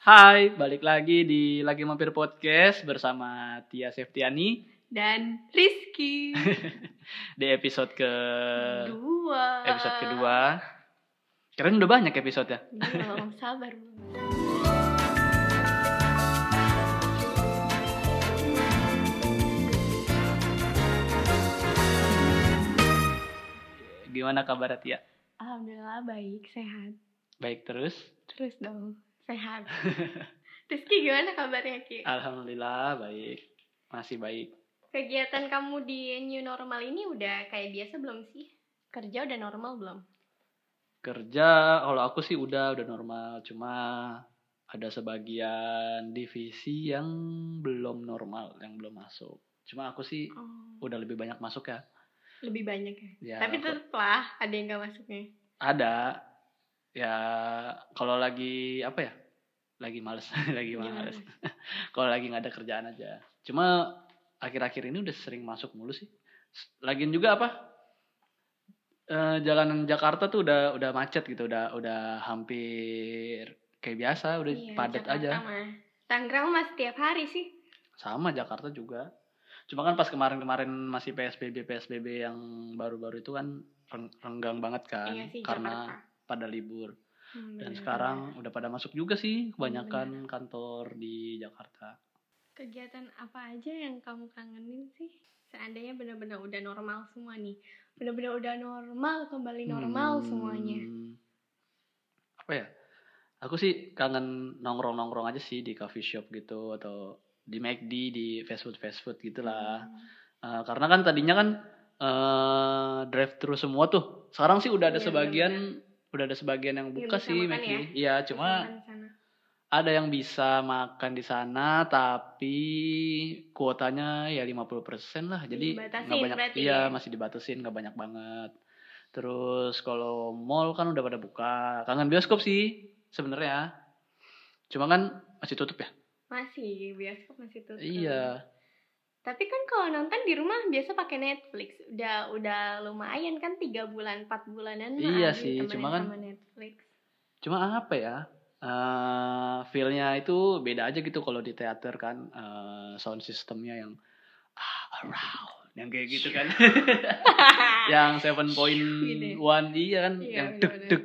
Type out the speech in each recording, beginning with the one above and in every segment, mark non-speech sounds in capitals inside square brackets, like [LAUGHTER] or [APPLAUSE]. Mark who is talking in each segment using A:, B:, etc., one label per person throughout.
A: Hai, balik lagi di Lagi Mampir Podcast bersama Tia Septiani
B: dan Rizky
A: di episode ke
B: dua
A: Eh, episode kedua. Keren udah banyak episode ya.
B: Gila, Bang, sabar Bang.
A: Gimana kabar Tia?
B: alhamdulillah baik sehat
A: Baik terus?
B: terus dong
A: [LAUGHS]
B: sehat Rizky gimana kabarnya Ki
A: Alhamdulillah baik. Masih baik.
B: kegiatan kamu di new normal ini udah kayak biasa belum sih kerja udah normal belum
A: Kerja kalau aku sih udah udah normal, cuma ada sebagian divisi yang belum normal, yang belum masuk. Cuma aku sih
B: oh,
A: udah lebih banyak masuk ya.
B: lebih banyak ya
A: Ya,
B: tapi
A: aku-
B: tetep lah ada yang gak masuknya
A: ada ya kalau lagi apa ya lagi males [LAUGHS] lagi
B: Gimana?
A: males [LAUGHS] kalau lagi nggak ada kerjaan aja cuma akhir-akhir ini udah sering masuk mulu sih S- lagian juga apa eh, jalanan Jakarta tuh udah udah macet gitu udah udah hampir kayak biasa udah
B: Iya,
A: padat
B: Jakarta
A: aja
B: mah. Tangerang mah setiap hari sih
A: sama Jakarta juga cuma kan pas kemarin-kemarin masih PSBB PSBB yang baru-baru itu kan reng- renggang banget kan
B: Iya sih,
A: karena
B: Jakarta.
A: pada libur
B: Hmm,
A: Dan
B: benar-benar.
A: sekarang udah pada masuk juga sih kebanyakan kantor di Jakarta.
B: Kegiatan apa aja yang kamu kangenin sih? Seandainya benar-benar udah normal semua nih. Benar-benar udah normal, kembali normal
A: Hmm,
B: semuanya.
A: Apa ya? Aku sih kangen nongkrong-nongkrong aja sih di coffee shop gitu atau di McD, di fast food fast food gitulah.
B: Hmm,
A: Eh, karena kan tadinya kan eh drive thru semua tuh. Sekarang sih udah ada
B: Iya,
A: sebagian udah ada sebagian yang
B: Yang
A: buka
B: bisa
A: sih
B: makan
A: McD.
B: ya?
A: Iya, cuma
B: Di sana.
A: ada yang bisa makan di sana tapi kuotanya ya 50% lah. Jadi
B: Dibatasin
A: nggak banyak
B: berarti
A: iya
B: ya?
A: masih dibatasin nggak banyak banget. Terus kalau mall kan udah pada buka. Kangen bioskop sih sebenarnya. Cuma kan masih tutup ya?
B: Masih bioskop masih tutup.
A: Iya.
B: Tapi kan kalau nonton di rumah biasa pakai Netflix. Udah udah lumayan kan 3 bulan, 4 bulanan mah
A: Iya
B: ada
A: sih,
B: ditemenin
A: cuma kan-
B: sama Netflix.
A: Cuma apa ya? eh feel-nya itu beda aja gitu kalau di teater kan eh, sound systemnya yang ah, around yang kayak gitu
B: [LAUGHS]
A: kan. yang 7.1
B: Gini.
A: iya kan
B: Iya,
A: yang
B: bener-bener.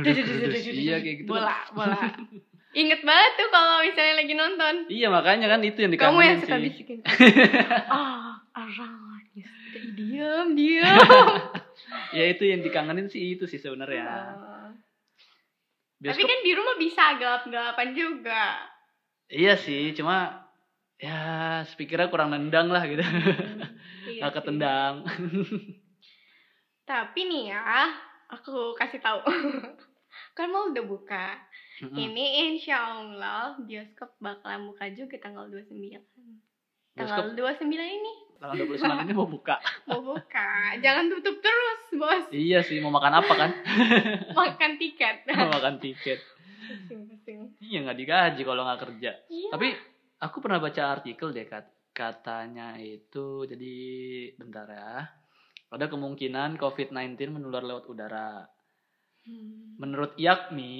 A: deg deg iya
B: [LAUGHS]
A: kayak gitu
B: Bola, bola. Ingat banget tuh kalau misalnya lagi nonton.
A: iya makanya kan itu yang
B: Kamu
A: dikangenin
B: yang suka
A: sih [LAUGHS]
B: bisikin. Ah, around. you." Diam, diam.
A: [LAUGHS] ya itu yang dikangenin sih itu sih sebenarnya
B: Oh. Tapi
A: bioskop
B: kan di rumah bisa gelap-gelapan juga.
A: iya sih cuma ya speakernya kurang nendang lah gitu [LAUGHS]
B: Iya
A: nggak
B: sih.
A: ketendang
B: Tapi nih ya, aku kasih tahu. [LAUGHS] kan mau udah buka.
A: Mm-mm.
B: Ini insya Allah bioskop bakalan buka juga tanggal 29.
A: bioskop
B: Tanggal 29 ini
A: tanggal 29 ini mau buka
B: mau buka. [LAUGHS] Jangan tutup terus, Bos.
A: iya sih mau makan apa kan [LAUGHS]
B: Makan tiket.
A: mau
B: [LAUGHS]
A: makan tiket
B: Pusing-pusing.
A: iya nggak digaji kalau nggak kerja
B: Iya.
A: Tapi aku pernah baca artikel deh kat- katanya itu jadi bentar ya. Ada kemungkinan COVID-19 menular lewat udara.
B: Hmm.
A: Menurut IAKMI,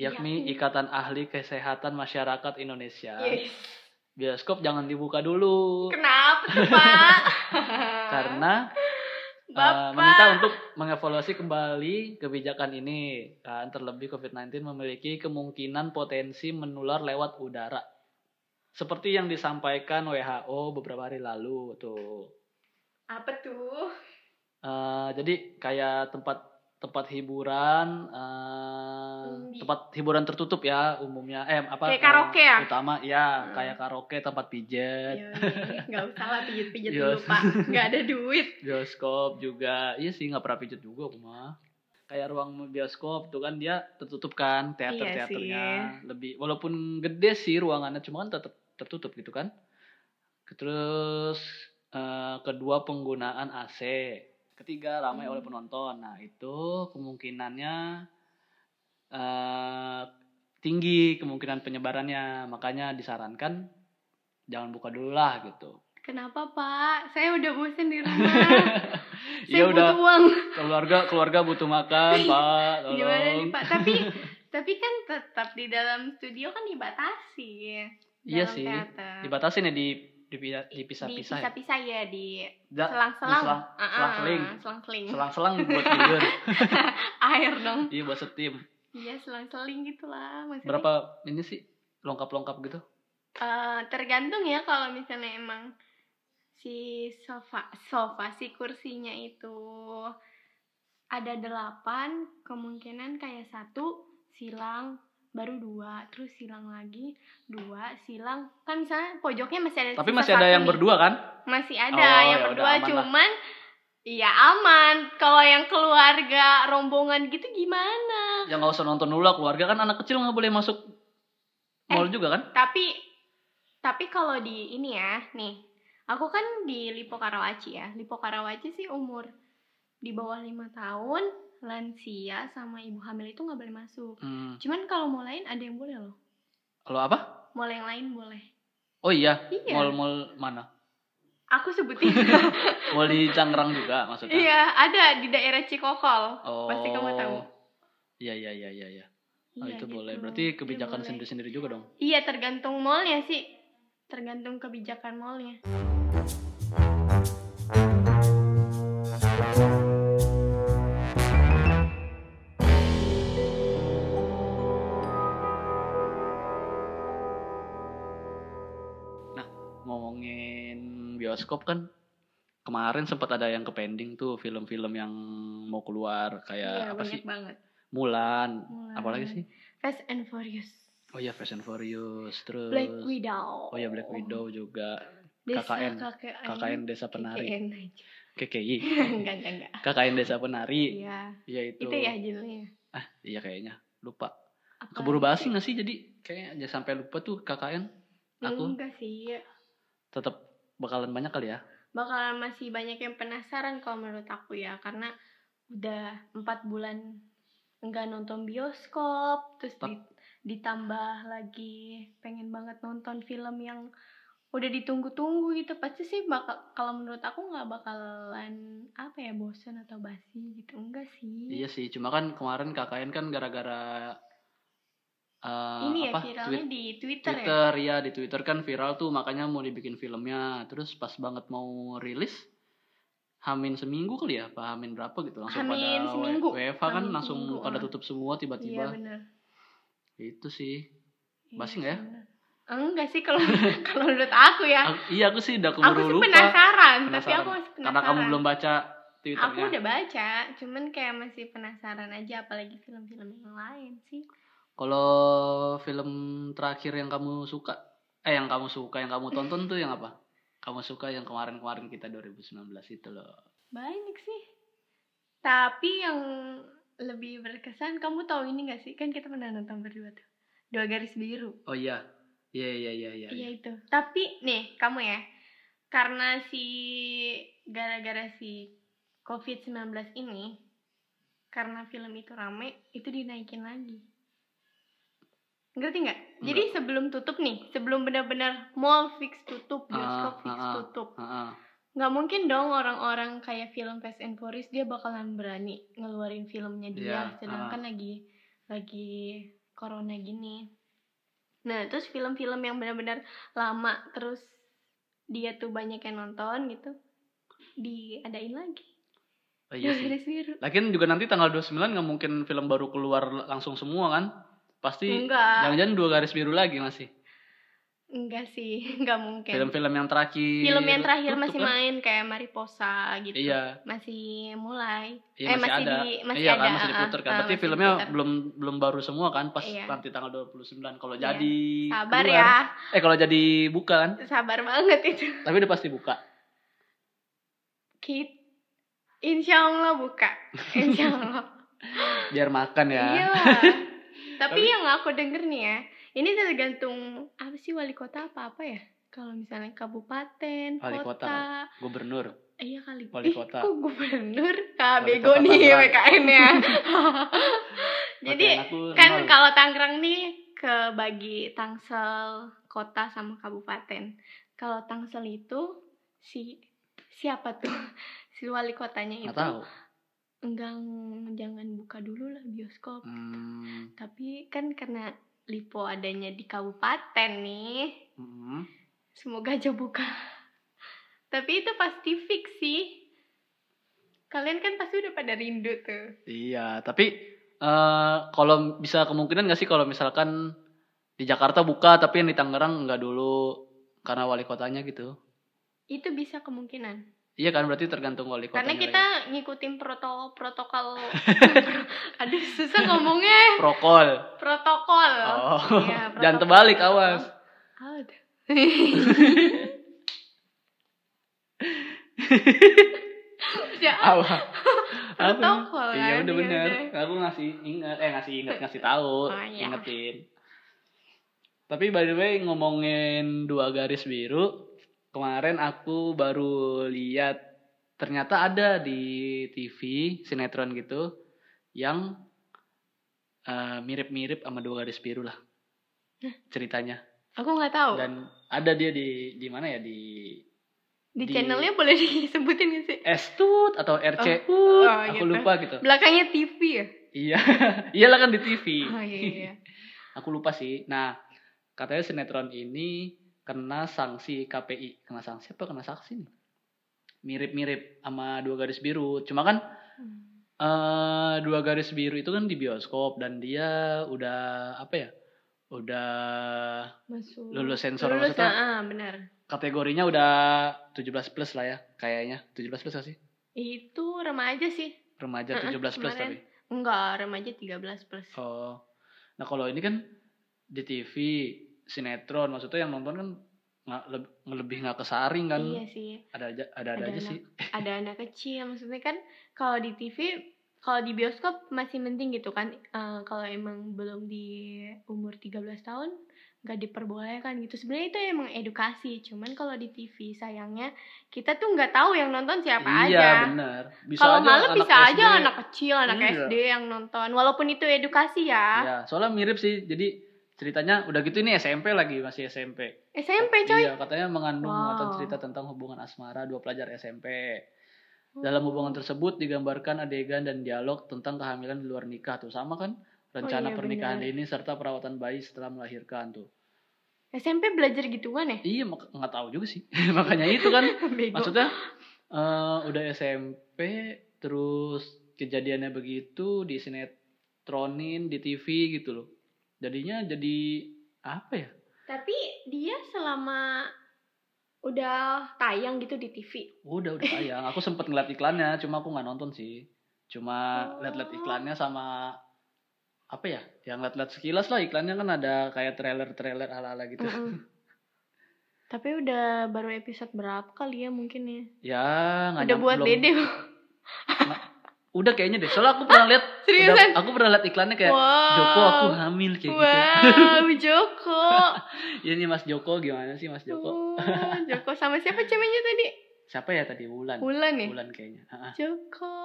A: IAKMI
B: IAKMI.
A: Ikatan Ahli Kesehatan Masyarakat Indonesia,
B: Yes.
A: bioskop jangan dibuka dulu
B: Iya. Kenapa tuh, Pak?
A: karena eh,
B: Bapak.
A: meminta untuk mengevaluasi kembali kebijakan ini. Kan terlebih COVID-19 memiliki kemungkinan potensi menular lewat udara. Seperti yang disampaikan WHO beberapa hari lalu tuh.
B: apa tuh?
A: Eh, jadi kayak tempat tempat hiburan eh,
B: Umbi.
A: tempat hiburan tertutup ya umumnya eh apa
B: Kayak
A: eh,
B: karaoke ya?
A: utama ya
B: Hmm.
A: kayak karaoke tempat pijet
B: Iya, nggak usah lah pijit-pijit
A: Iya.
B: dulu pak, nggak ada duit.
A: bioskop juga iya sih nggak pernah pijet juga aku mah kayak ruang bioskop tuh kan dia tertutup kan teater
B: Iya
A: teaternya lebih walaupun gede sih ruangannya cuma kan tetap tertutup gitu kan terus eh, kedua penggunaan AC ketiga ramai
B: Hmm.
A: oleh penonton nah itu kemungkinannya eh, tinggi kemungkinan penyebarannya makanya disarankan jangan buka dulu lah gitu
B: Kenapa pak? Saya udah bosen di rumah. Saya
A: [LAUGHS] Iya udah
B: butuh uang. [LAUGHS]
A: keluarga keluarga butuh makan pak
B: Gimana nih
A: tolong
B: pak? Tapi Tapi kan tetap di dalam studio kan dibatasi ya.
A: Iya
B: dalam
A: sih.
B: teater.
A: Dibatasin ya di dipi- dipisah-pisah. ya.
B: Dipisah-pisah ya di
A: Da-
B: selang-selang.
A: diselang-
B: Ah, ah,
A: selang-seling.
B: selang-seling.
A: Selang-selang
B: [LAUGHS]
A: buat tidur.
B: Air dong.
A: Iya buat setim.
B: Iya, selang-seling gitu lah maksudnya.
A: Berapa ini sih longkap-longkap gitu?
B: Eh, tergantung ya kalau misalnya emang si sofa sofa si kursinya itu ada delapan kemungkinan kayak satu silang baru dua terus silang lagi dua silang kan misalnya pojoknya masih ada
A: Tapi
B: sisa
A: masih ada
B: satu
A: yang
B: nih.
A: berdua kan?
B: masih
A: Oh,
B: ada
A: ya
B: yang
A: udah,
B: berdua
A: aman lah.
B: cuman iya aman kalau yang keluarga rombongan gitu gimana
A: Yang nggak usah nonton dulu lah keluarga kan anak kecil nggak boleh masuk
B: Eh.
A: mall juga kan?
B: tapi tapi kalau di ini ya nih aku kan di Lipo Karawaci ya Lipo Karawaci sih umur di bawah lima tahun lansia sama ibu hamil itu nggak boleh masuk
A: Hmm.
B: cuman kalau mau lain ada yang boleh loh
A: Lo apa?
B: mau yang lain boleh
A: Oh iya,
B: Iya.
A: mall-mall mana?
B: aku
A: [LAUGHS]
B: sebutin
A: Mall di Tangerang juga maksudnya?
B: iya ada di daerah Cikokol
A: Oh.
B: Pasti kamu tahu.
A: Iya iya iya iya. iya. Oh,
B: Iya,
A: itu
B: gitu.
A: boleh. Berarti
B: Itu
A: kebijakan
B: boleh.
A: sendiri-sendiri juga dong.
B: iya tergantung mallnya sih tergantung kebijakan mallnya
A: Ngomongin bioskop kan kemarin sempat ada yang ke pending tuh film-film yang mau keluar kayak Ya,
B: iya
A: apa
B: banyak
A: sih?
B: banget
A: Mulan.
B: Mulan,
A: Apalagi sih?
B: Fast and Furious
A: Oh iya Fast and Furious terus
B: Black Widow
A: Oh iya Black Widow juga
B: Desa
A: KKN.
B: KKN.
A: KKN Desa Penari
B: KKN aja. [LAUGHS]
A: KKI
B: enggak, enggak, enggak.
A: KKN Desa Penari
B: Iya.
A: Iya itu
B: Itu ya judulnya.
A: Ah iya kayaknya lupa
B: Apa?
A: Keburu basi
B: iya.
A: gak sih jadi kayaknya aja sampai lupa tuh KKN aku.
B: Enggak sih. iya.
A: tetap bakalan banyak kali ya
B: Bakalan masih banyak yang penasaran kalau menurut aku ya. Karena udah empat bulan enggak nonton bioskop. Terus
A: Tap-
B: di- ditambah lagi pengen banget nonton film yang udah ditunggu-tunggu gitu pasti sih bakal kalau menurut aku nggak bakalan apa ya bosan atau basi gitu enggak sih
A: Iya sih cuma kan kemarin KKN kan gara-gara eh,
B: ini ya
A: apa tweet-
B: viralnya di Twitter, ya
A: Twitter ya di Twitter kan viral tuh makanya mau dibikin filmnya terus pas banget mau rilis Hamin seminggu kali ya, Pak Hamin berapa gitu langsung
B: Hamin
A: pada
B: seminggu.
A: WFH kan
B: Hamin
A: langsung
B: seminggu,
A: pada
B: ah.
A: tutup semua
B: iya
A: tiba-tiba.
B: benar
A: itu sih.
B: Iya
A: Basi nggak ya?
B: sih, bener. Enggak sih
A: [LAUGHS]
B: kalau kalau menurut aku ya.
A: Aku- iya aku sih udah
B: Aku
A: keburu
B: sih
A: lupa
B: penasaran, tapi
A: Penasaran.
B: aku masih penasaran.
A: karena kamu belum ya. baca
B: Aku
A: Twitternya.
B: udah baca, cuman kayak masih penasaran aja apalagi film-film yang lain sih.
A: Kalau film terakhir yang kamu suka eh yang kamu suka yang kamu tonton tuh yang apa? Kamu suka yang kemarin-kemarin kita 2019 itu loh.
B: Banyak sih. Tapi yang lebih berkesan kamu tahu ini gak sih? Kan kita pernah nonton berdua tuh. Dua garis biru.
A: Oh iya. Iya iya iya iya.
B: Iya itu. Tapi nih, kamu ya. Karena si gara-gara si COVID-19 ini karena film itu rame, itu dinaikin lagi. Ngerti nggak? Jadi sebelum tutup nih, sebelum benar-benar mall fix tutup,
A: Ah,
B: bioskop fix
A: ah, ah.
B: tutup.
A: Heeh.
B: nggak mungkin dong orang-orang kayak film Fast and Furious dia bakalan berani ngeluarin filmnya
A: Iya,
B: dia sedangkan lagi lagi corona gini nah terus film-film yang benar-benar lama terus dia tuh banyak yang nonton gitu diadain lagi
A: Oh, iya sih.
B: Garis biru
A: Lagian juga nanti tanggal 29 nggak mungkin film baru keluar langsung semua kan? Pasti
B: enggak
A: jangan-jangan dua garis biru lagi masih.
B: enggak sih enggak mungkin film,
A: Film-film yang terakhir.
B: yang terakhir
A: tutup
B: masih
A: kan?
B: main kayak Mariposa gitu
A: Iya,
B: masih mulai
A: iya
B: Eh,
A: masih,
B: masih
A: ada.
B: di- masih
A: iya kan
B: ada,
A: masih
B: ah,
A: diputar kan.
B: ah,
A: Berarti
B: masih
A: filmnya
B: diputar.
A: belum belum baru semua kan pas
B: Iya.
A: nanti tanggal 29 kalau
B: Iya.
A: jadi
B: sabar
A: keluar.
B: ya
A: Eh kalau jadi buka kan?
B: sabar banget itu
A: Tapi udah pasti buka.
B: Kit Insya Allah buka Insya Allah
A: Biar makan ya.
B: Iya lah. Tapi
A: Tapi-
B: yang aku denger nih ya Ini tergantung Apa sih wali kota apa-apa ya Kalau misalnya kabupaten,
A: Wali
B: kota,
A: kota. Gubernur.
B: Eh, Iya kali
A: Wali
B: Ih,
A: kota.
B: kok gubernur Nah,
A: Wali
B: bego
A: kota
B: nih
A: Tangerang.
B: WKN
A: [LAUGHS]
B: ya [LAUGHS] Jadi
A: Makan aku
B: kan
A: nol.
B: kalau Tangerang nih Kebagi Tangsel Kota sama kabupaten Kalau Tangsel itu [LAUGHS] Si Siapa tuh Si wali kotanya itu
A: nggak tahu.
B: enggak jangan buka dulu lah bioskop
A: Hmm,
B: tapi kan karena lipo adanya di kabupaten nih
A: mm-mm.
B: semoga aja buka tapi itu pasti fix sih kalian kan pasti udah pada rindu tuh
A: Iya, tapi eh kalau bisa kemungkinan nggak sih kalau misalkan di Jakarta buka tapi yang di Tangerang nggak dulu karena wali kotanya gitu.
B: itu bisa kemungkinan
A: Iya kan berarti tergantung wali kotanya.
B: karena kita
A: lagi.
B: ngikutin
A: [LAUGHS]
B: proto protokol aduh susah ngomongnya
A: prokol.
B: protokol
A: Oh. [LAUGHS]
B: Iya,
A: Jangan
B: protokol-
A: terbalik awas.
B: Oh,
A: [LAUGHS]
B: udah. Udah,
A: Awas. Apa?
B: Protokol
A: Iya
B: kan,
A: udah bener.
B: iya
A: Aku ngasih ingat eh ngasih ingat ngasih tahu,
B: Oh, iya.
A: ingetin. Tapi by the way ngomongin dua garis biru, kemarin aku baru lihat ternyata ada di TV sinetron gitu yang eh, mirip-mirip sama dua garis biru lah ceritanya
B: aku nggak tahu
A: dan ada dia di di mana ya di
B: di,
A: di-
B: channelnya boleh disebutin nggak sih
A: Estut atau RCU
B: Oh, oh,
A: aku
B: gitu.
A: lupa gitu
B: belakangnya TV ya
A: Iya, [LAUGHS] iyalah kan di TV.
B: oh iya, iya.
A: Aku lupa sih. Nah, katanya sinetron ini kena sanksi KPI. Kena sanksi apa? Kena sanksi nih. Mirip-mirip sama dua garis biru. Cuma kan
B: Hmm.
A: eh dua garis biru itu kan di bioskop dan dia udah apa ya? Udah
B: masuk
A: lulus sensor
B: lulus
A: maksudnya
B: ah, ah, benar
A: kategorinya udah 17 plus lah ya kayaknya. 17 plus gak sih?
B: itu remaja sih
A: Remaja
B: Heeh,
A: 17 plus tapi.
B: kemarin. enggak remaja 13 plus
A: Oh. Nah, kalau ini kan di TV sinetron maksudnya yang nonton kan nggak leb- lebih nggak kesaring kan.
B: iya sih
A: Ada aja ada ada,
B: Ada
A: aja
B: anak.
A: sih.
B: ada anak kecil maksudnya kan kalau di TV kalau di bioskop masih penting gitu kan Eh, kalau emang belum di umur 13 tahun nggak diperbolehkan gitu sebenarnya itu emang edukasi cuman kalau di TV sayangnya kita tuh nggak tahu yang nonton siapa
A: iya,
B: aja
A: benar. Bisa
B: kalau
A: aja
B: malam
A: anak
B: bisa
A: SD.
B: aja anak kecil anak
A: Iya.
B: SD yang nonton walaupun itu edukasi ya
A: Iya, soalnya mirip sih. Jadi ceritanya udah gitu ini SMP lagi, masih SMP.
B: SMP coy
A: Iya, katanya mengandung
B: Wow.
A: muatan cerita tentang hubungan asmara dua pelajar SMP. Dalam hubungan tersebut digambarkan adegan dan dialog tentang kehamilan di luar nikah tuh sama kan? Rencana
B: iya,
A: pernikahan
B: benar.
A: ini serta perawatan bayi setelah melahirkan tuh.
B: SMP belajar gituan ya [LAUGHS]
A: Iya, mak- nggak tahu juga sih. [LAUGHS] Makanya itu kan.
B: Bego.
A: Maksudnya eh, udah SMP terus kejadiannya begitu di sinetronin di TV gitu loh. Jadinya jadi apa ya?
B: tapi dia selama udah tayang gitu di TV
A: Udah udah sayang. Aku sempet ngeliat iklannya, cuma aku nggak nonton sih. Cuma
B: Oh.
A: liat-liat iklannya sama apa ya? Yang liat-liat sekilas lah iklannya kan ada kayak trailer-trailer ala-ala gitu.
B: Mm-mm. [LAUGHS] Tapi udah baru episode berapa kali ya mungkin ya?
A: Ya nggak
B: udah
A: nyam-
B: buat
A: belum-
B: dede.
A: Udah kayaknya deh. Soalnya aku pernah lihat,
B: [LAUGHS] Seriusan?
A: aku pernah liat iklannya kayak
B: wow.
A: Joko aku hamil kayak gitu. [LAUGHS]
B: Wow, Joko.
A: Iya nih Mas Joko gimana sih Mas Joko?
B: Oh, Joko sama siapa ceweknya tadi?
A: Siapa ya tadi Wulan?
B: Wulan ya?
A: Wulan kayaknya. Ah, ah. [LAUGHS]
B: Joko.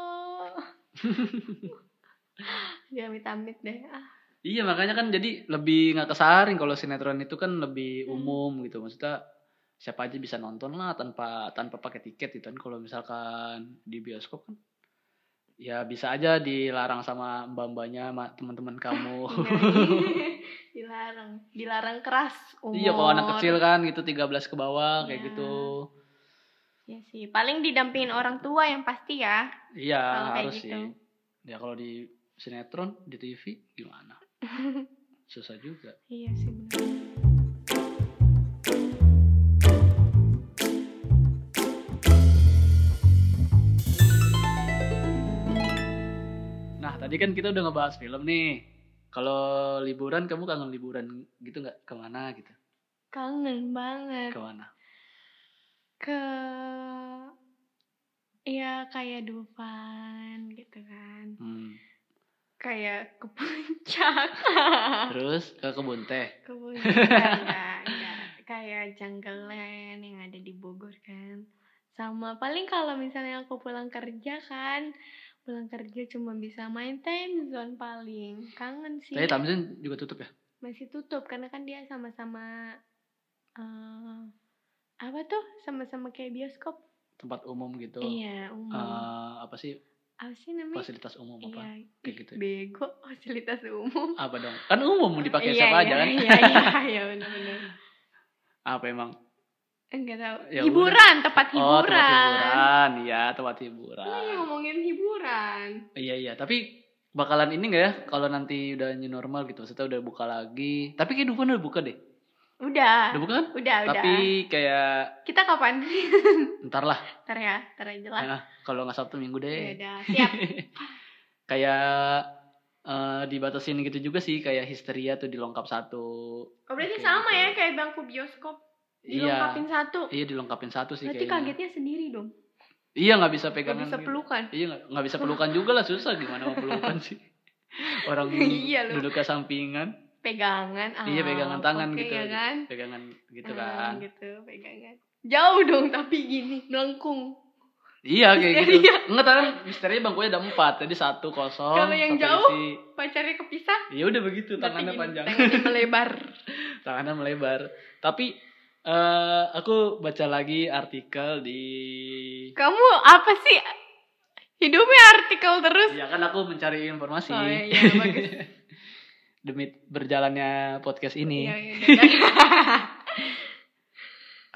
B: Dia amit-amit deh. Ah,
A: Iya makanya kan jadi lebih nggak kesaring kalau sinetron itu kan lebih
B: Hmm.
A: umum gitu maksudnya siapa aja bisa nonton lah tanpa tanpa pakai tiket gitu kan kalau misalkan di bioskop kan ya bisa aja dilarang sama mbak-mbaknya sama teman-teman kamu
B: [LAUGHS] iya. dilarang, dilarang keras umur.
A: iya kalau anak kecil kan gitu 13 ke bawah kayak
B: Ya Iya.
A: gitu
B: Iya sih, paling didampingin orang tua yang pasti ya.
A: iya
B: Kalau kayak
A: harus
B: gitu.
A: sih ya kalau di sinetron di TV
B: [LAUGHS]
A: gimana susah juga
B: Iya sih benar.
A: Nah, tadi kan kita udah ngebahas film nih. Kalau liburan, kamu kangen liburan gitu nggak? Kemana gitu?
B: Kangen banget.
A: Kemana?
B: ke ya kayak Dufan gitu kan [LAUGHS]
A: Hmm.
B: kayak ke puncak
A: Terus ke kebun teh.
B: [LAUGHS] ke puncak enggak, enggak. kayak jungleland yang ada di Bogor kan sama paling kalau misalnya aku pulang kerja kan pulang kerja cuma bisa main time zone paling kangen sih
A: Tapi Tamzin juga tutup ya?
B: masih tutup karena kan dia sama-sama eh, apa tuh sama-sama kayak bioskop
A: Tempat umum gitu.
B: iya umum
A: Eh, apa sih?
B: apa sih namanya
A: fasilitas umum apa
B: iya
A: kayak gitu ya?
B: bego [LAUGHS] fasilitas umum
A: apa dong kan umum dipakai
B: Iya,
A: siapa
B: iya,
A: aja kan
B: iya
A: [LAUGHS]
B: iya iya benar-benar
A: apa emang
B: enggak tahu
A: Ya
B: hiburan tempat
A: oh
B: hiburan Iya.
A: tempat hiburan ya tempat hiburan
B: Ini ngomongin hiburan
A: Iya iya, tapi bakalan ini nggak ya kalau nanti udah new normal gitu, maksudnya udah buka lagi. Tapi kehidupan udah buka deh.
B: udah
A: Udah buka kan?
B: udah udah
A: Tapi kayak
B: kita kapan [LAUGHS]
A: ntar lah,
B: ntar ya ntar aja lah
A: Nah, kalau nggak Sabtu Minggu deh.
B: ya udah
A: [LAUGHS]
B: siap
A: Kayak eh, dibatasin gitu juga sih, kayak histeria tuh dilengkap satu.
B: oh, berarti
A: Oke,
B: sama
A: gitu.
B: ya kayak bangku bioskop
A: Iya.
B: dilengkapin satu
A: Iya dilengkapin satu sih
B: berarti
A: kayaknya.
B: kagetnya sendiri dong
A: Iya nggak bisa
B: gak
A: pegangan.
B: bisa
A: gitu.
B: pelukan
A: Iya nggak- nggak bisa pelukan juga lah susah gimana mau pelukan
B: [LAUGHS]
A: sih. Orang
B: Iya, lu.
A: duduknya sampingan,
B: pegangan ah,
A: iya pegangan tangan
B: oke,
A: gitu,
B: ya kan
A: pegangan gitu
B: Ah,
A: kan.
B: gitu pegangan jauh dong tapi gini melengkung
A: Iya kayak gitu.
B: Misteria.
A: Enggak tahu misterinya bangkunya ada empat, jadi satu kosong.
B: Kalau yang
A: satu
B: jauh,
A: isi.
B: pacarnya kepisah
A: ya udah begitu
B: tapi
A: tangannya
B: gini,
A: panjang, [LAUGHS]
B: tangannya melebar
A: tangannya melebar. Tapi eh aku baca lagi artikel di,
B: kamu apa sih hidupnya artikel terus
A: ya kan aku mencari informasi
B: Oh, iya, iya, bagus.
A: [LAUGHS] demi berjalannya podcast ini.
B: Ya,
A: [LAUGHS]
B: udah.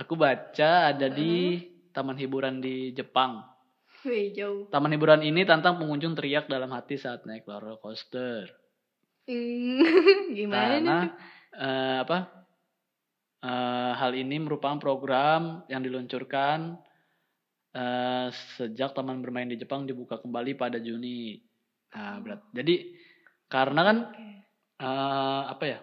A: Aku baca ada di
B: Mm-hmm.
A: taman hiburan di Jepang.
B: Wih, jauh
A: Taman hiburan ini tantang pengunjung teriak dalam hati saat naik roller coaster.
B: Hmm, [LAUGHS] gimana
A: karena eh, apa eh, hal ini merupakan program yang diluncurkan eh, sejak taman bermain di Jepang dibuka kembali pada Juni. Nah,
B: Oh.
A: berat. Jadi karena kan
B: tuh?
A: eh, apa ya?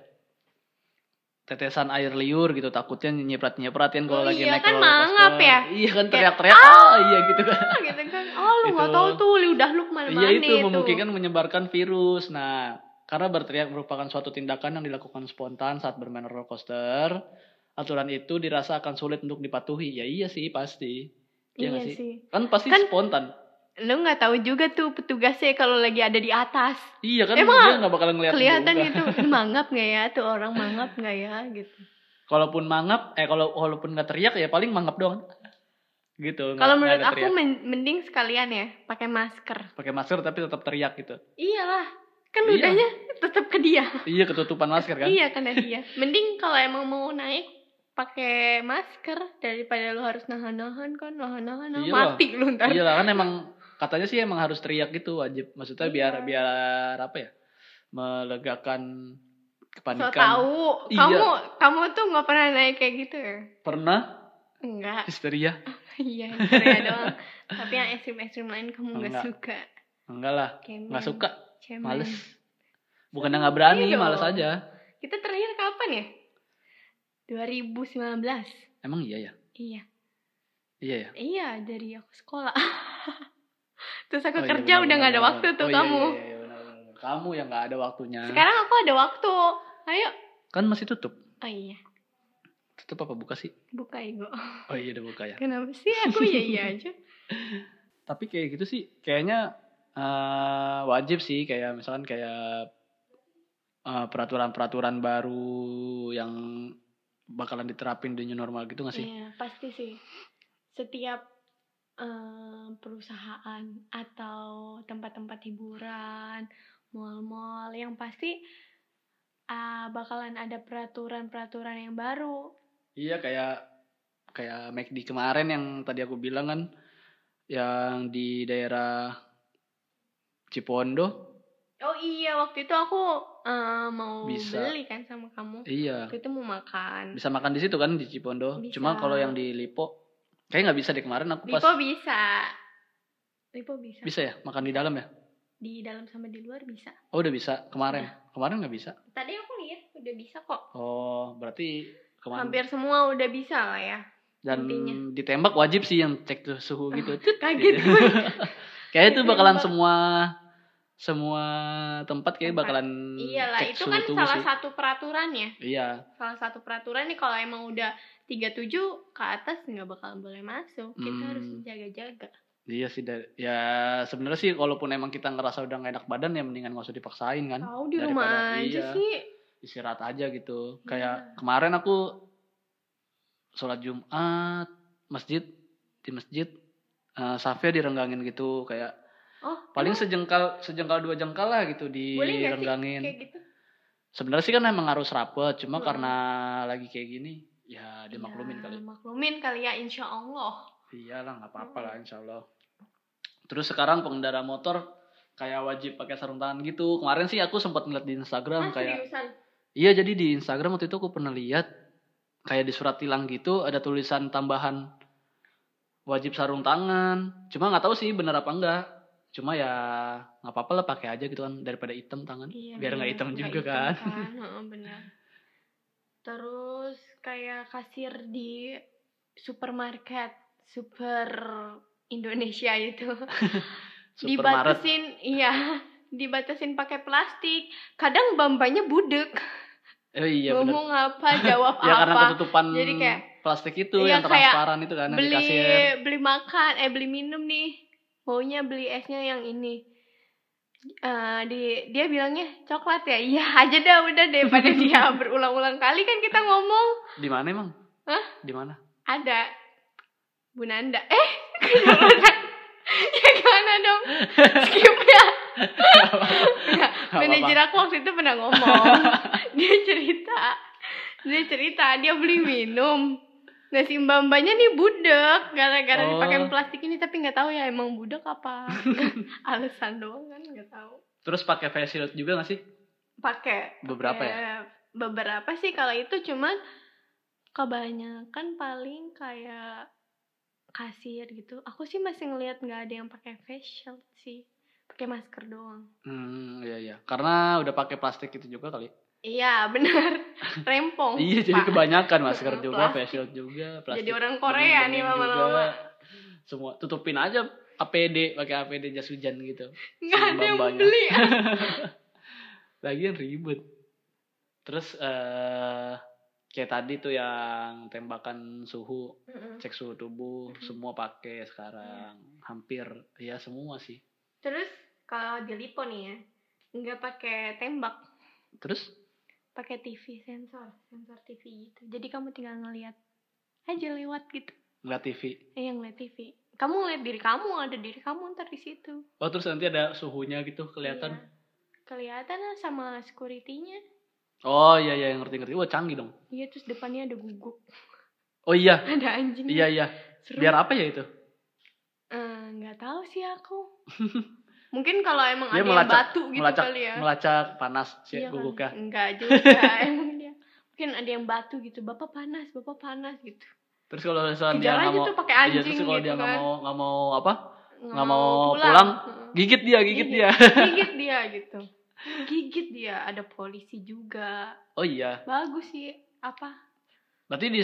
A: Tetesan air liur gitu takutnya nyeprat-nyeprat kan kalau
B: Oh
A: lagi
B: iya,
A: naik
B: kan
A: roller
B: mangap
A: coaster.
B: ya?
A: Iya kan
B: Kayak,
A: teriak-teriak. Oh iya gitu kan.
B: Ah, gitu kan oh lu nggak
A: Itu.
B: tahu tuh lidah lu kemana mana
A: Iya itu memungkinkan menyebarkan virus. Nah, karena berteriak merupakan suatu tindakan yang dilakukan spontan saat bermain roller coaster, aturan itu dirasa akan sulit untuk dipatuhi. Ya iya sih pasti. Iya
B: iya
A: nggak
B: sih.
A: sih? Kan pasti
B: Kan-
A: spontan.
B: lu nggak tahu juga tuh petugasnya kalau lagi ada di atas
A: Iya kan
B: Emang
A: dia nggak bakal ngeliat
B: kelihatan
A: juga.
B: gitu Ini mangap nggak ya tuh orang mangap nggak ya gitu
A: Kalaupun mangap, eh kalau walaupun nggak teriak ya paling mangap doang. Gitu. nggak-
B: kalau
A: nggak
B: menurut
A: ada
B: aku
A: teriak.
B: men- mending sekalian ya pakai masker
A: pakai masker tapi tetap teriak gitu.
B: iyalah kan
A: Iya.
B: ludahnya tetap ke dia
A: Iya ketutupan masker kan.
B: iya kan
A: [LAUGHS]
B: dia mending kalau emang mau naik pakai masker daripada lu harus nahan-nahan kan nahan-nahan nahan.
A: Iya.
B: mati lu ntar
A: Iya lah kan emang katanya sih emang harus teriak gitu wajib. Maksudnya biar
B: Iya.
A: biar apa ya? Melegakan
B: so
A: kepanikan.
B: tau
A: Iya.
B: kamu kamu tuh nggak pernah naik kayak gitu ya
A: Pernah [LAUGHS]
B: enggak
A: histeria?
B: iya Korea doang tapi yang ekstrim-ekstrim lain kamu nggak
A: Enggak.
B: suka
A: Enggak lah,
B: Kemen,
A: nggak suka,
B: cemen.
A: males. Bukan nggak berani,
B: Hmm. Iya dong.
A: males aja.
B: Kita terakhir kapan ya? 2019.
A: Emang iya ya?
B: Iya.
A: Iya ya.
B: Iya, dari aku sekolah. [LAUGHS] Terus aku
A: Oh iya,
B: kerja
A: benar,
B: udah nggak ada
A: benar,
B: waktu
A: benar.
B: tuh
A: Oh iya,
B: kamu.
A: iya, iya, benar, benar. Kamu yang nggak ada waktunya.
B: Sekarang aku ada waktu. Ayo.
A: Kan masih tutup.
B: Oh iya,
A: Tutup apa buka sih?
B: buka ego.
A: Oh iya udah buka ya.
B: Kenapa sih aku iya
A: [LAUGHS]
B: iya aja?
A: tapi kayak gitu sih kayaknya eh, wajib sih kayak misalkan kayak eh, peraturan-peraturan baru yang bakalan diterapin di new normal gitu gak sih?
B: Iya, pasti sih. Setiap eh, perusahaan atau tempat-tempat hiburan, mall-mall yang pasti ah, bakalan ada peraturan-peraturan yang baru.
A: Iya kayak kayak McD kemarin yang tadi aku bilang kan yang di daerah Cipondo.
B: Oh iya, waktu itu aku eh, mau
A: Bisa.
B: beli kan sama kamu.
A: Iya.
B: Waktu itu mau makan.
A: Bisa makan di situ kan di Cipondo.
B: Bisa.
A: Cuma kalau yang di Lipo kayak nggak bisa deh kemarin aku pas
B: Lipo bisa. Lipo bisa.
A: bisa ya makan di dalam ya?
B: Di dalam sama di luar bisa.
A: Oh udah bisa kemarin.
B: Iya.
A: Kemarin nggak bisa.
B: Tadi aku lihat udah bisa kok.
A: Oh, berarti kemarin
B: Hampir semua udah bisa lah ya.
A: dan
B: intinya.
A: ditembak wajib sih yang cek tuh
B: [LAUGHS]
A: suhu gitu. Tut,
B: Kaget
A: gitu. [LAUGHS]
B: gue.
A: kayaknya itu bakalan
B: Ditembak.
A: semua semua tempat kayak
B: Tempat.
A: bakalan
B: Iyalah,
A: cek
B: itu
A: suhu
B: kan
A: tubuh
B: salah
A: sih.
B: satu peraturannya.
A: Iya,
B: Salah satu peraturan nih kalau emang udah 37 ke atas nggak bakalan boleh masuk. Kita
A: Hmm.
B: harus jaga-jaga.
A: iya sih dari- ya sebenarnya sih walaupun emang kita ngerasa udah gak enak badan ya mendingan gak usah dipaksain kan.
B: Tahu di
A: Daripada-
B: rumah aja
A: iya.
B: sih.
A: Istirahat aja gitu.
B: Iya.
A: Kayak kemarin aku sholat Jumat masjid di masjid eh, safnya direnggangin gitu kayak
B: Oh,
A: paling
B: emang
A: sejengkal sejengkal dua jengkal lah gitu
B: boleh nggak sih
A: direnggangin
B: kayak gitu?
A: sebenarnya sih kan emang harus rapet cuma
B: Hmm.
A: karena lagi kayak gini ya dimaklumin
B: Ya,
A: kali
B: Maklumin kali ya, insya Allah.
A: iyalah nggak apa-apa lah insya Allah terus sekarang pengendara motor kayak wajib pakai sarung tangan gitu kemarin sih aku sempat ngeliat di Instagram
B: Ah,
A: Nah, kayak
B: seriusan?
A: iya jadi di Instagram waktu itu aku pernah lihat kayak di surat tilang gitu ada tulisan tambahan wajib sarung tangan cuma nggak tahu sih bener apa enggak cuma ya nggak apa-apa lah pakai aja gitu kan daripada hitam tangan
B: Iya,
A: biar nggak
B: bener,
A: hitam
B: nggak
A: juga
B: hitam
A: kan [LAUGHS]
B: Heeh, bener. Terus kayak kasir di supermarket, super Indonesia itu.
A: supermarket
B: dibatasin, iya, dibatasin pakai plastik. Kadang bambanya budek,
A: eh, iya bener
B: ngomong
A: [LAUGHS]
B: apa, jawab
A: ya karena
B: apa.
A: ketutupan
B: Jadi kayak,
A: plastik itu
B: iya,
A: yang
B: kayak
A: transparan itu kan yang di
B: beli
A: kasir
B: beli makan eh beli minum nih maunya beli esnya yang ini Eh, di dia bilangnya coklat ya iya aja dah udah
A: [LAUGHS]
B: daripada dia berulang-ulang kali kan kita ngomong
A: di mana emang
B: Hah?
A: di mana [LAUGHS]
B: ada Bunanda eh Bunanda. ya gimana dong skip ya
A: Nggak
B: manajer
A: apa-apa.
B: aku waktu itu pernah
A: [LAUGHS]
B: ngomong dia cerita dia cerita dia beli minum nah si mbak-mbaknya nih budek gara-gara
A: Oh.
B: dipakai plastik ini tapi nggak tahu ya emang budek
A: [LAUGHS]
B: apa alasan doang kan nggak tahu
A: terus pakai face shield juga nggak sih
B: pakai
A: beberapa ya
B: eh, beberapa sih kalau itu cuman kebanyakan paling kayak kasir gitu aku sih masih ngelihat nggak ada yang pakai facial sih pakai masker doang
A: hmm iya iya karena udah pakai plastik itu juga kali
B: Iya
A: [LAUGHS]
B: benar rempong.
A: Iya jadi
B: Oh, Pak.
A: kebanyakan
B: [LAUGHS]
A: masker
B: Heeh,
A: juga,
B: plastik.
A: face shield juga, plastik.
B: Jadi orang Korea nih
A: bening-bening
B: lama-lama.
A: juga. Semua tutupin aja APD, pakai APD jas hujan gitu.
B: Nggak ada yang
A: Mbak-mbaknya.
B: beli. [LAUGHS]
A: Lagian ribet. Terus eh kayak tadi tuh yang tembakan suhu, cek suhu tubuh,
B: Mhm.
A: semua pakai sekarang.
B: Iya.
A: Hampir ya semua sih.
B: Terus kalau di lipo nih ya, nggak pakai tembak,
A: Terus
B: pakai TV sensor, sensor TV gitu. Jadi kamu tinggal ngelihat aja lewat gitu.
A: ngeliat TV.
B: Eh yang ngeliat TV. Kamu ngeliat diri kamu, ada diri kamu ntar di situ.
A: Oh terus nanti ada suhunya gitu kelihatan.
B: Iya. Kelihatan lah sama security-nya.
A: Oh iya iya ngerti-ngerti. Wah canggih dong.
B: Iya terus depannya ada
A: [LAUGHS]
B: guguk,
A: Oh iya.
B: ada anjing.
A: Iya iya.
B: Seru.
A: Biar apa ya itu?
B: Eh, nggak tahu sih aku.
A: [LAUGHS]
B: Mungkin kalau emang
A: Dia
B: ada yang
A: melacak-
B: batu gitu
A: melacak
B: kali ya.
A: melacak panas si ya.
B: Iya kali.
A: guguknya.
B: Enggak juga,
A: [LAUGHS]
B: emang dia. Mungkin ada yang batu gitu, bapak panas, bapak panas gitu.
A: Terus kalau misalnya dia
B: Gejala
A: nggak
B: aja
A: mau,
B: tuh pakai
A: iya,
B: anjing
A: terus
B: gitu
A: kalau dia
B: kan.
A: nggak mau nggak mau apa,
B: Nggak
A: mau pulang,
B: Heeh.
A: gigit dia,
B: Iya.
A: gigit dia.
B: [LAUGHS] Gigit dia gitu. Gigit dia, ada polisi juga.
A: Oh iya,
B: Bagus sih, apa?
A: berarti di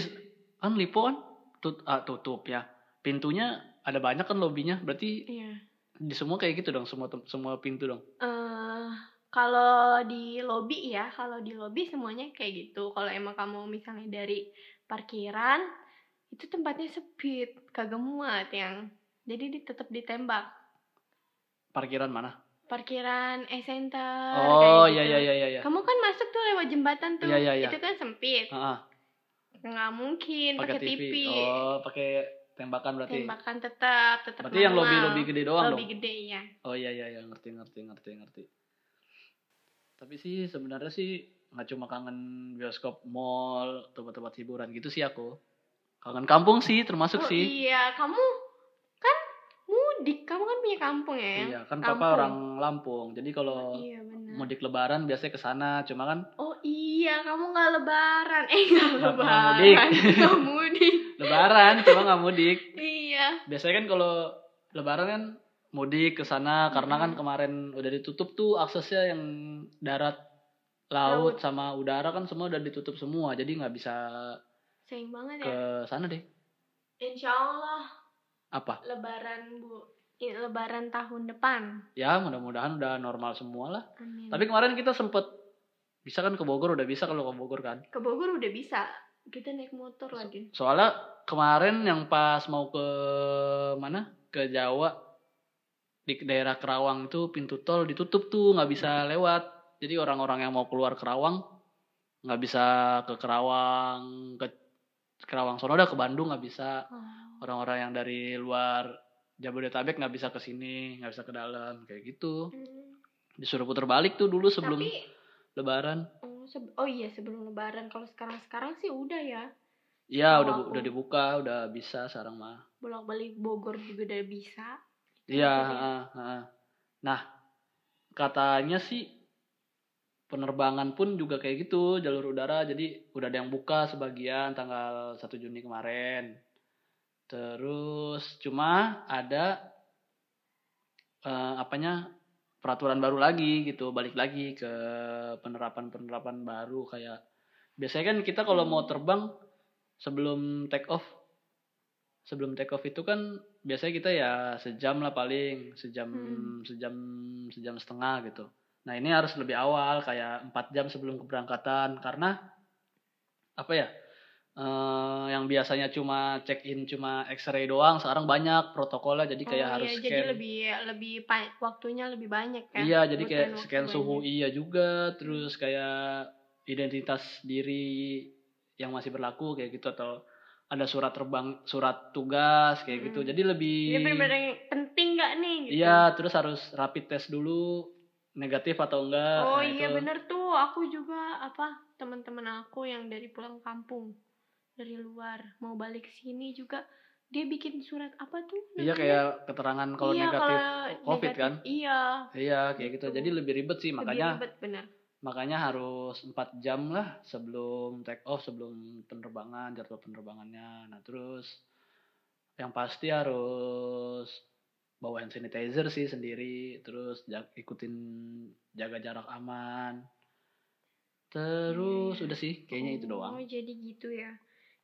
A: kan lipo kan tut, ah, tutup ya, pintunya ada banyak kan lobinya, berarti
B: Iya.
A: di semua kayak gitu dong, semua tem- semua pintu dong.
B: Eh, kalau di lobi ya, kalau di lobi semuanya kayak gitu. Kalau emang kamu misalnya dari parkiran, itu tempatnya sempit, kagak muat yang. Jadi di- tetap ditembak.
A: Parkiran mana?
B: Parkiran e-center.
A: Oh
B: kayak
A: iya
B: gitu.
A: iya iya iya. iya.
B: Kamu kan masuk tuh lewat jembatan tuh.
A: Iya, iya, iya.
B: Itu kan sempit.
A: Ah, ah,
B: Nggak mungkin
A: pakai TV. Oh, pakai tembakan berarti.
B: Tembakan tetap, tetap
A: Berarti yang
B: manual.
A: lobi lobi gede doang
B: Lobby
A: dong.
B: gede ya.
A: Oh iya iya iya ngerti ngerti ngerti ngerti. Tapi sih sebenarnya sih nggak cuma kangen bioskop, mall, tempat-tempat hiburan gitu sih aku. Kangen kampung sih termasuk
B: Oh
A: sih.
B: iya, kamu kan mudik. Kamu kan punya kampung ya.
A: Iya, kan papa
B: Kampung.
A: orang Lampung. Jadi kalau
B: Iya benar.
A: mudik lebaran biasanya ke sana, cuma kan
B: Oh iya, kamu nggak lebaran. Eh, nggak
A: Nggak
B: lebaran.
A: mudik.
B: [LAUGHS] Nggak mudik.
A: lebaran cuma nggak mudik.
B: Iya.
A: Biasanya kan kalau lebaran kan mudik ke sana karena kan kemarin udah ditutup tuh aksesnya yang darat, laut,
B: Laut.
A: sama udara kan semua udah ditutup semua. Jadi nggak bisa
B: Sayang banget ya.
A: ke sana deh.
B: Insya Allah
A: Apa?
B: lebaran bu. i- Lebaran tahun depan.
A: ya mudah-mudahan udah normal semua lah
B: Amin.
A: tapi kemarin kita sempet bisa kan ke Bogor udah bisa kalau ke Bogor kan
B: ke Bogor udah bisa. Kita naik motor lagi.
A: soalnya kemarin yang pas mau ke mana ke Jawa di daerah Kerawang tuh pintu tol ditutup tuh nggak bisa lewat jadi orang-orang yang mau keluar Kerawang nggak bisa ke Kerawang ke Kerawang sono udah ke Bandung nggak bisa
B: Oh.
A: orang-orang yang dari luar Jabodetabek nggak bisa ke sini, nggak bisa ke dalam kayak gitu.
B: Hmm.
A: Disuruh putar balik tuh dulu sebelum
B: Tapi
A: lebaran.
B: oh, seb- oh iya sebelum lebaran kalau sekarang sekarang sih udah ya
A: Iya,
B: kalau
A: udah bu-
B: aku-
A: udah dibuka, udah bisa sekarang mah.
B: bolak balik Bogor juga udah bisa.
A: Iya,
B: Jadi-
A: heeh, heeh. Nah, katanya sih penerbangan pun juga kayak gitu, jalur udara. Jadi udah ada yang buka sebagian tanggal 1 Juni kemarin. Terus cuma ada eh, apanya peraturan baru lagi gitu, balik lagi ke penerapan-penerapan baru kayak biasanya kan kita kalau mau terbang sebelum take off sebelum take off itu kan biasanya kita ya sejam lah paling sejam
B: Mm.
A: sejam sejam setengah gitu nah ini harus lebih awal kayak empat jam sebelum keberangkatan karena apa ya eh, yang biasanya cuma check in cuma X-ray doang sekarang banyak protokolnya jadi kayak
B: Oh,
A: harus
B: iya,
A: scan
B: jadi lebih lebih pa- waktunya lebih banyak kan.
A: Iya, jadi kayak
B: Butuhin waktu
A: scan suhu
B: banyak.
A: iya juga, terus kayak identitas diri yang masih berlaku kayak gitu atau ada surat terbang, surat tugas kayak gitu.
B: Mm.
A: Jadi lebih
B: Ini benar-benar yang penting nggak nih gitu.
A: Iya, terus harus rapid test dulu negatif atau enggak. nah,
B: Oh iya
A: itu.
B: bener tuh, aku juga apa teman-teman aku yang dari pulang kampung dari luar mau balik sini juga dia bikin surat apa tuh?
A: Iya
B: namanya?
A: kayak keterangan kalau
B: Iya,
A: negatif
B: kalau
A: COVID
B: negatif,
A: kan?
B: Iya.
A: Iya, kayak gitu.
B: Gitu.
A: Jadi lebih ribet sih makanya
B: lebih ribet bener.
A: makanya harus 4 jam lah sebelum take off sebelum penerbangan jadwal penerbangannya nah terus yang pasti harus bawa hand sanitizer sih sendiri terus ja- ikutin jaga jarak aman terus
B: Iya.
A: udah sih kayaknya itu doang
B: Oh jadi gitu ya.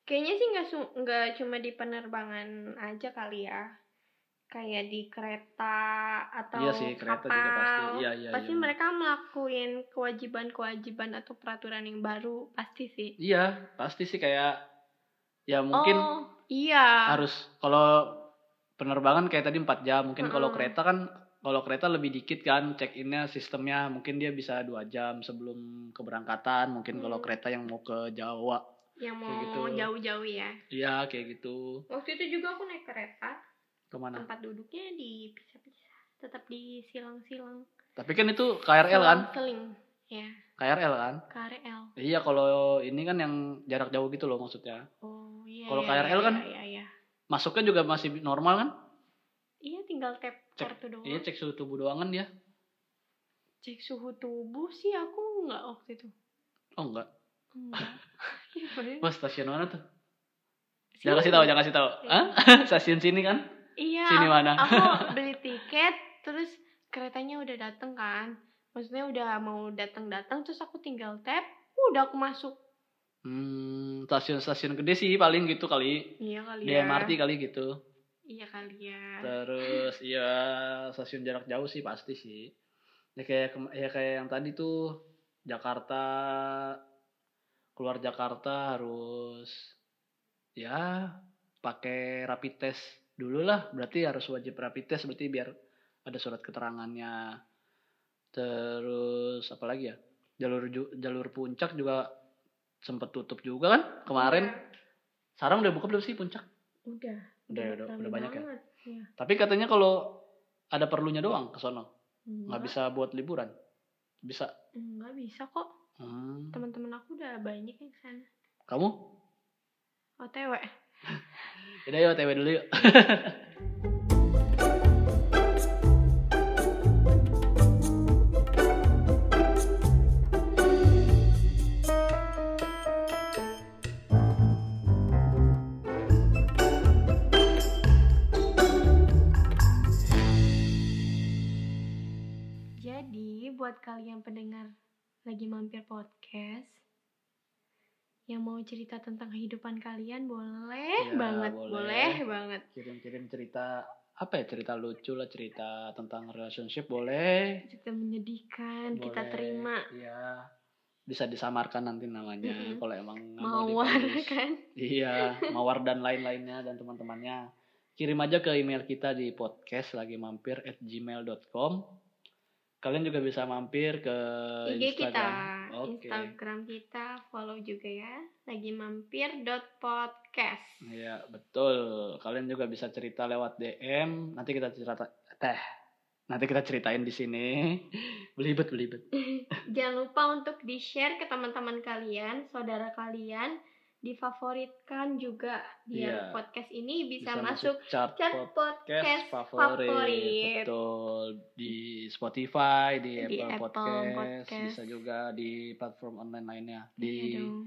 B: Kayaknya sih nggak su- nggak cuma di penerbangan aja kali ya. Kayak di kereta atau
A: iya sih kereta juga pasti
B: kapal.
A: iya iya
B: pasti
A: iya.
B: mereka melakuin kewajiban-kewajiban atau peraturan yang baru pasti sih.
A: iya pasti sih kayak ya mungkin
B: oh, iya.
A: harus kalau penerbangan kayak tadi 4 jam mungkin kalau
B: Mm-mm.
A: kereta kan kalau kereta lebih dikit kan check innya sistemnya mungkin dia bisa dua jam sebelum keberangkatan mungkin kalau
B: Hmm.
A: kereta yang mau ke Jawa
B: yang mau
A: kayak gitu.
B: jauh-jauh ya.
A: iya kayak gitu
B: Waktu itu juga aku naik kereta,
A: kemana
B: tempat duduknya dipisah-pisah, tetap di silang-silang.
A: tapi kan itu
B: Iya.
A: KRL kan
B: Seling, ya,
A: KRL kan
B: KRL.
A: iya kalau ini kan yang jarak jauh gitu loh maksudnya
B: Oh iya.
A: Kalau
B: iya,
A: KRL
B: iya,
A: kan?
B: Iya iya.
A: masuknya juga masih normal kan
B: Iya tinggal tap
A: Cek-
B: kartu doang.
A: iya cek suhu tubuh doang kan dia
B: Cek suhu tubuh sih aku nggak waktu itu.
A: oh enggak [LAUGHS]
B: Enggak. Iya, bener.
A: wah stasiun mana tuh
B: Sini.
A: jangan kasih tahu jangan kasih tahu
B: Iya.
A: Hah? stasiun sini kan
B: Iya.
A: [LAUGHS] sini mana
B: aku beli tiket terus keretanya udah dateng kan. Maksudnya udah mau datang-datang terus aku tinggal tap, udah aku masuk.
A: Hmm, stasiun-stasiun gede sih paling gitu kali.
B: Iya kali
A: Di
B: ya.
A: MRT kali gitu.
B: Iya kali ya.
A: Ah. Terus iya stasiun jarak jauh sih pasti sih. Ya kayak kem- ya kayak yang tadi tuh Jakarta keluar Jakarta harus ya pakai rapid test dulu lah. Berarti harus wajib rapid test berarti biar ada surat keterangannya. Terus apa lagi ya? Jalur ju- jalur puncak juga sempet tutup juga kan kemarin. Sekarang udah buka belum sih puncak?
B: Iya. Udah.
A: Udah, udah,
B: rame
A: udah banyak ya.
B: banget. Iya.
A: Tapi katanya kalau ada perlunya doang ke sono, nggak
B: Enggak
A: bisa buat liburan. Bisa.
B: Enggak bisa kok.
A: Hmm.
B: Teman-teman aku udah banyak yang kesana.
A: Kamu?
B: OTW.
A: Yaudah yuk TW dulu yuk.
B: Jadi buat kalian pendengar lagi mampir podcast yang mau cerita tentang kehidupan kalian boleh
A: Ya,
B: banget,
A: boleh.
B: boleh. banget.
A: Kirim-kirim cerita apa ya cerita lucu lah cerita tentang relationship boleh
B: Kita menyedihkan, kita
A: Boleh.
B: terima
A: iya bisa disamarkan nanti namanya
B: Mm-mm.
A: kalau emang nggak mau
B: mawar
A: ditulis.
B: [LAUGHS] kan.
A: Iya, Mawar dan lain-lainnya dan teman-temannya. Kirim aja ke email kita di podcast lagi mampir at gmail.com. Kalian juga bisa mampir ke eh,
B: IG kita,
A: Instagram. Oke.
B: Instagram kita, follow juga ya. Lagi mampir dot podcast.
A: Iya, betul. Kalian juga bisa cerita lewat DM. Nanti kita cerita teh. Nanti kita ceritain di sini. [LAUGHS] Belibet belibet.
B: Jangan lupa untuk di share ke teman-teman kalian, saudara kalian, difavoritkan juga biar
A: Iya. podcast
B: podcast ini bisa, masuk
A: chart
B: chart
A: podcast
B: podcast
A: favorit.
B: favorit.
A: Betul. Di Spotify, di,
B: Di
A: Apple,
B: Apple
A: podcast,
B: Podcast.
A: bisa juga di platform online lainnya. Di
B: Iya dong.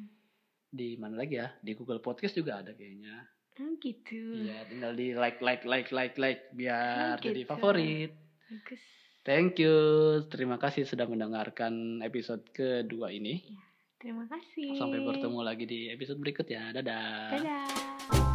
A: di mana lagi ya? Di Google Podcast juga ada kayaknya.
B: Oh gitu.
A: Iya, tinggal di like like like like like biar
B: Oh,
A: jadi
B: gitu.
A: favorit.
B: Bagus.
A: Thank you. Terima kasih sudah mendengarkan episode kedua ini.
B: Terima kasih.
A: Sampai bertemu lagi di episode berikut ya. Dadah.
B: Dadah.